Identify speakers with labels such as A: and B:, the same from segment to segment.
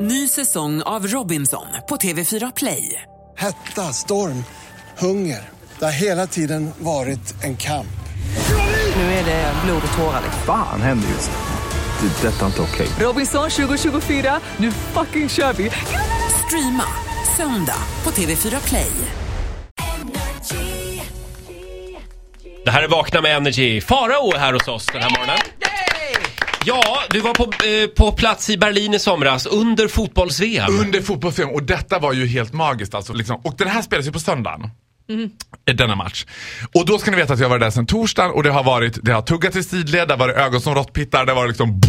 A: Ny säsong av Robinson på TV4 Play.
B: Hetta, storm, hunger. Det har hela tiden varit en kamp.
A: Nu är det blod och tårar.
C: Fan händer just nu. Det. är Detta är inte okej.
A: Robinson 2024, nu fucking kör vi! Streama söndag på TV4 Play.
D: Det här är Vakna med Energy. Farao är här hos oss den här morgonen. Ja, du var på, eh, på plats i Berlin i somras under fotbolls-VM.
E: Under fotbolls och detta var ju helt magiskt alltså. Liksom. Och den här spelas ju på söndagen. Denna match. Och då ska ni veta att jag var där sen torsdagen och det har varit, det har tuggat i sidled, det har varit ögon som råttpittar, det var liksom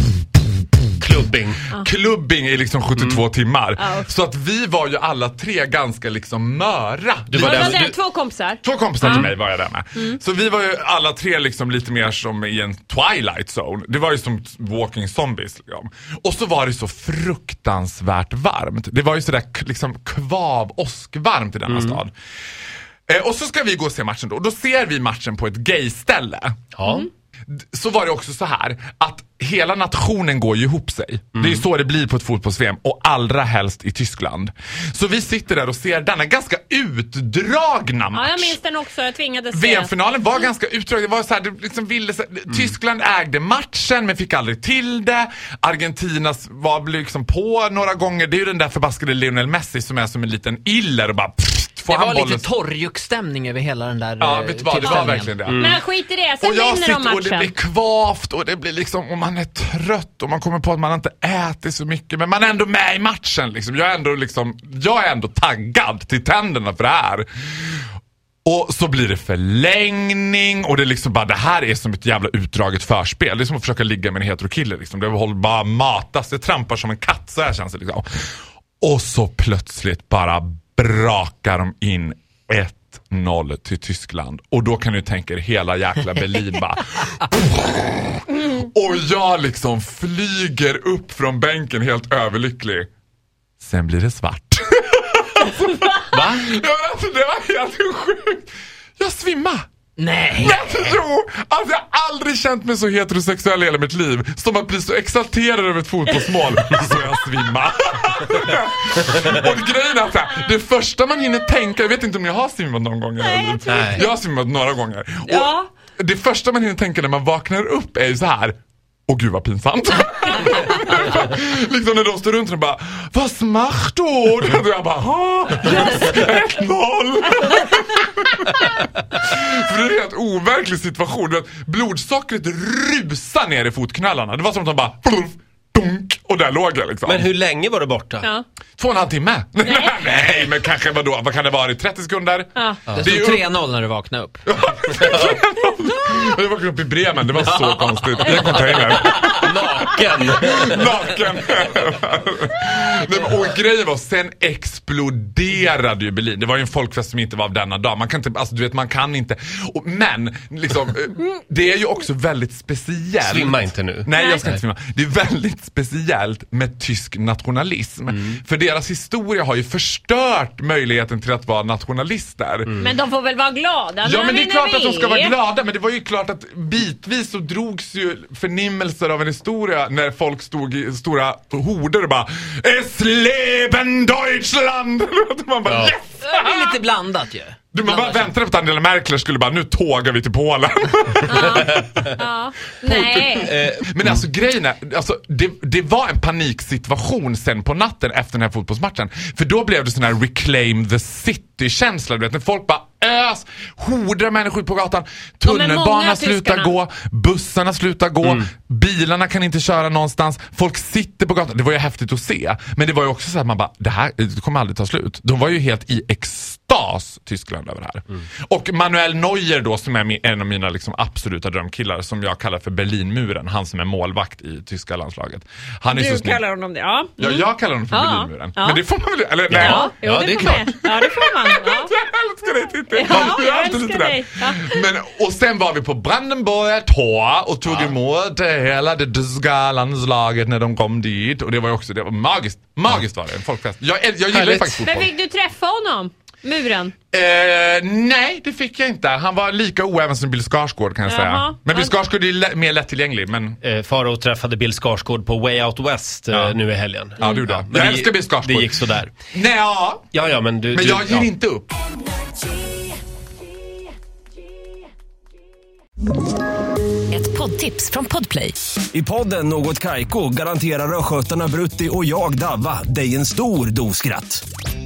D: Klubbing.
E: klubbing i liksom 72
D: Mm.
E: timmar. Så att vi var ju alla tre ganska liksom möra.
D: Du
E: Vi-
D: var
F: Det
D: där
F: var
D: med-
F: där,
D: du-
F: två kompisar.
E: Två kompisar till mig var jag där med.
F: Mm.
E: Så vi var ju alla tre liksom lite mer som i en twilight zone. Det var ju som walking zombies. Liksom. Och så var det så fruktansvärt varmt. Det var ju sådär k- liksom kvav åskvarmt i denna stad. Eh, och så ska vi gå och se matchen då. Och då ser vi matchen på ett gayställe. Mm.
D: Ja.
E: D- Så var det också så här att hela nationen går ju ihop sig. Det är ju så det blir på ett fotbolls-VM och allra helst i Tyskland. Så vi sitter där och ser denna ganska utdragna match.
F: Ja, jag minns den också. Jag tvingades se den.
E: VM-finalen var ganska utdragen. Det var så här, det liksom ville, så
F: Mm.
E: Tyskland ägde matchen men fick aldrig till det. Argentinas var blev liksom på några gånger. Det är ju den där förbaskade Lionel Messi som är som en liten iller och bara pfft, får
G: Det
E: han
G: var
E: bollen.
G: lite torrjuckstämning över hela den där
E: Ja,
G: eh,
E: vet du vad? Det var
G: tillställningen.
E: verkligen det.
F: Men skit i det, Mm. sen
E: Och jag
F: vinner de
E: sitter och det blir
F: matchen.
E: kvavt och det blir liksom, och man är trött och man kommer på att man inte ätit så mycket men man är ändå med i matchen liksom. Jag är ändå liksom, jag är ändå taggad till tänderna för det här. Och så blir det förlängning och det är liksom bara, det här är som ett jävla utdraget förspel. Det är som att försöka ligga med en heterokille liksom. Det håller bara matas, det trampar som en katt så här känns det liksom. Och så plötsligt bara brakar de in 1-0 till Tyskland. Och då kan ni tänka er hela jäkla Berlin bara. Och jag liksom flyger upp från bänken helt överlycklig. Sen blir det svart.
D: Va?
E: Ja, alltså, det var helt sjukt. Jag svimmade.
G: Nej!
E: Jag tror att jag aldrig känt mig så heterosexuell i hela mitt liv som att bli så exalterad över ett fotbollsmål så jag svimmar. Och grejen är att så här, det första man hinner tänka, jag vet inte om jag har svimmat någon gång. Nej, jag,
D: tror inte.
E: jag har svimmat några gånger. Och
F: Ja.
E: Det första man hinner tänka när man vaknar upp är ju så här. Åh gud vad pinsamt. liksom när de står runt och bara Vad macht du? Och jag bara ha, yes, 1-0. För det är en helt overklig situation. Du vet, blodsockret rusar ner i fotknölarna. Det var som att de bara plump, dunk, och där låg jag liksom.
D: Men hur länge var du borta?
F: Ja.
E: Två och en halv timme? Nej, men kanske vadå, vad kan det vara i 30 sekunder?
F: Ja.
G: Det
E: Det är ju
G: stod 3-0 när du vaknade upp.
E: Jag vaknade upp i Bremen, det var så konstigt. I en container.
D: Naken.
E: Naken. Nej, men, och grejen var, sen exploderade ju Berlin. Det var ju en folkfest som inte var av denna dag. Man kan inte, alltså du vet man kan inte. Och, men, liksom, eh, det är ju också väldigt speciellt.
D: Svimma inte nu.
E: Nej, jag ska inte svimma. Det är väldigt speciellt med tysk nationalism. För deras historia har ju förstört möjligheten till att vara nationalister.
F: Men de får väl vara glada
E: Ja
F: när
E: men det är
F: vinner
E: klart att de ska vara
F: VM.
E: glada men det var ju klart att bitvis så drogs ju förnimmelser av en historia när folk stod i stora horder och bara Es leben Deutschland! Och man bara
D: Ja.
E: yes!
G: Det är lite blandat ju.
E: Du, man bara väntade på att Angela Merkel skulle bara nu tågar vi till Polen.
F: Ja. Nej.
E: men alltså grejen är, alltså, det, det var en paniksituation sen på natten efter den här fotbollsmatchen. För då blev det sån här reclaim the city känsla du vet när folk bara ös, horder av människor på gatan,
F: är många,
E: tunnelbanan slutar
F: tyskarna.
E: gå, bussarna slutar gå, bilarna kan inte köra någonstans, folk sitter på gatan. Det var ju häftigt att se. Men det var ju också så att man bara, det här det kommer aldrig ta slut. De var ju helt i extas, Tyskland, över det här. Och Manuel Neuer då, som är min- en av mina liksom absoluta drömkillar, som jag kallar för Berlinmuren, han som är målvakt i tyska landslaget. Han är så
F: Du
E: snygg.
F: kallar honom det, ja.
E: Ja, jag kallar honom för
F: Ja,
E: Berlinmuren.
F: ja.
E: Men det får man väl, eller nej.
F: Ja, jo,
D: Ja,
F: det,
D: det är
F: får man.
D: klart.
F: Ja, det får man. Ja.
E: Jag älskar dig Titti!
F: Ja,
E: Du är
F: jag
E: alltid
F: älskar
E: lite där.
F: dig. Ja.
E: Men, och sen var vi på Brandenburger Tor och tog emot hela det tyska landslaget när de kom dit. Och det var ju också det var magiskt. Magiskt var det, en folkfest. Jag, äl- jag gillar ju
D: Härligt.
E: faktiskt
F: Men
E: fotboll.
F: fick du träffa honom? Muren.
E: Eh, nej, det fick jag inte. Han var lika oäven som Bill Skarsgård kan jag
F: Jaha.
E: säga. Men Bill
F: Ja.
E: Skarsgård är ju lä- mer lättillgänglig. Men,
D: Eh, Faro träffade Bill Skarsgård på Way Out West eh,
E: Ja.
D: nu i helgen.
E: ja, du då.
D: Men
E: jag
D: det-
E: älskar Bill Skarsgård.
D: Det gick sådär.
E: Nej, ja.
D: Ja, ja, men du...
E: Men
D: du,
E: jag ger
D: ja.
E: inte upp.
H: Ett poddtips från Podplay.
I: I podden Något Kaiko garanterar östgötarna Brutti och jag, Davva, dig en stor dos skratt.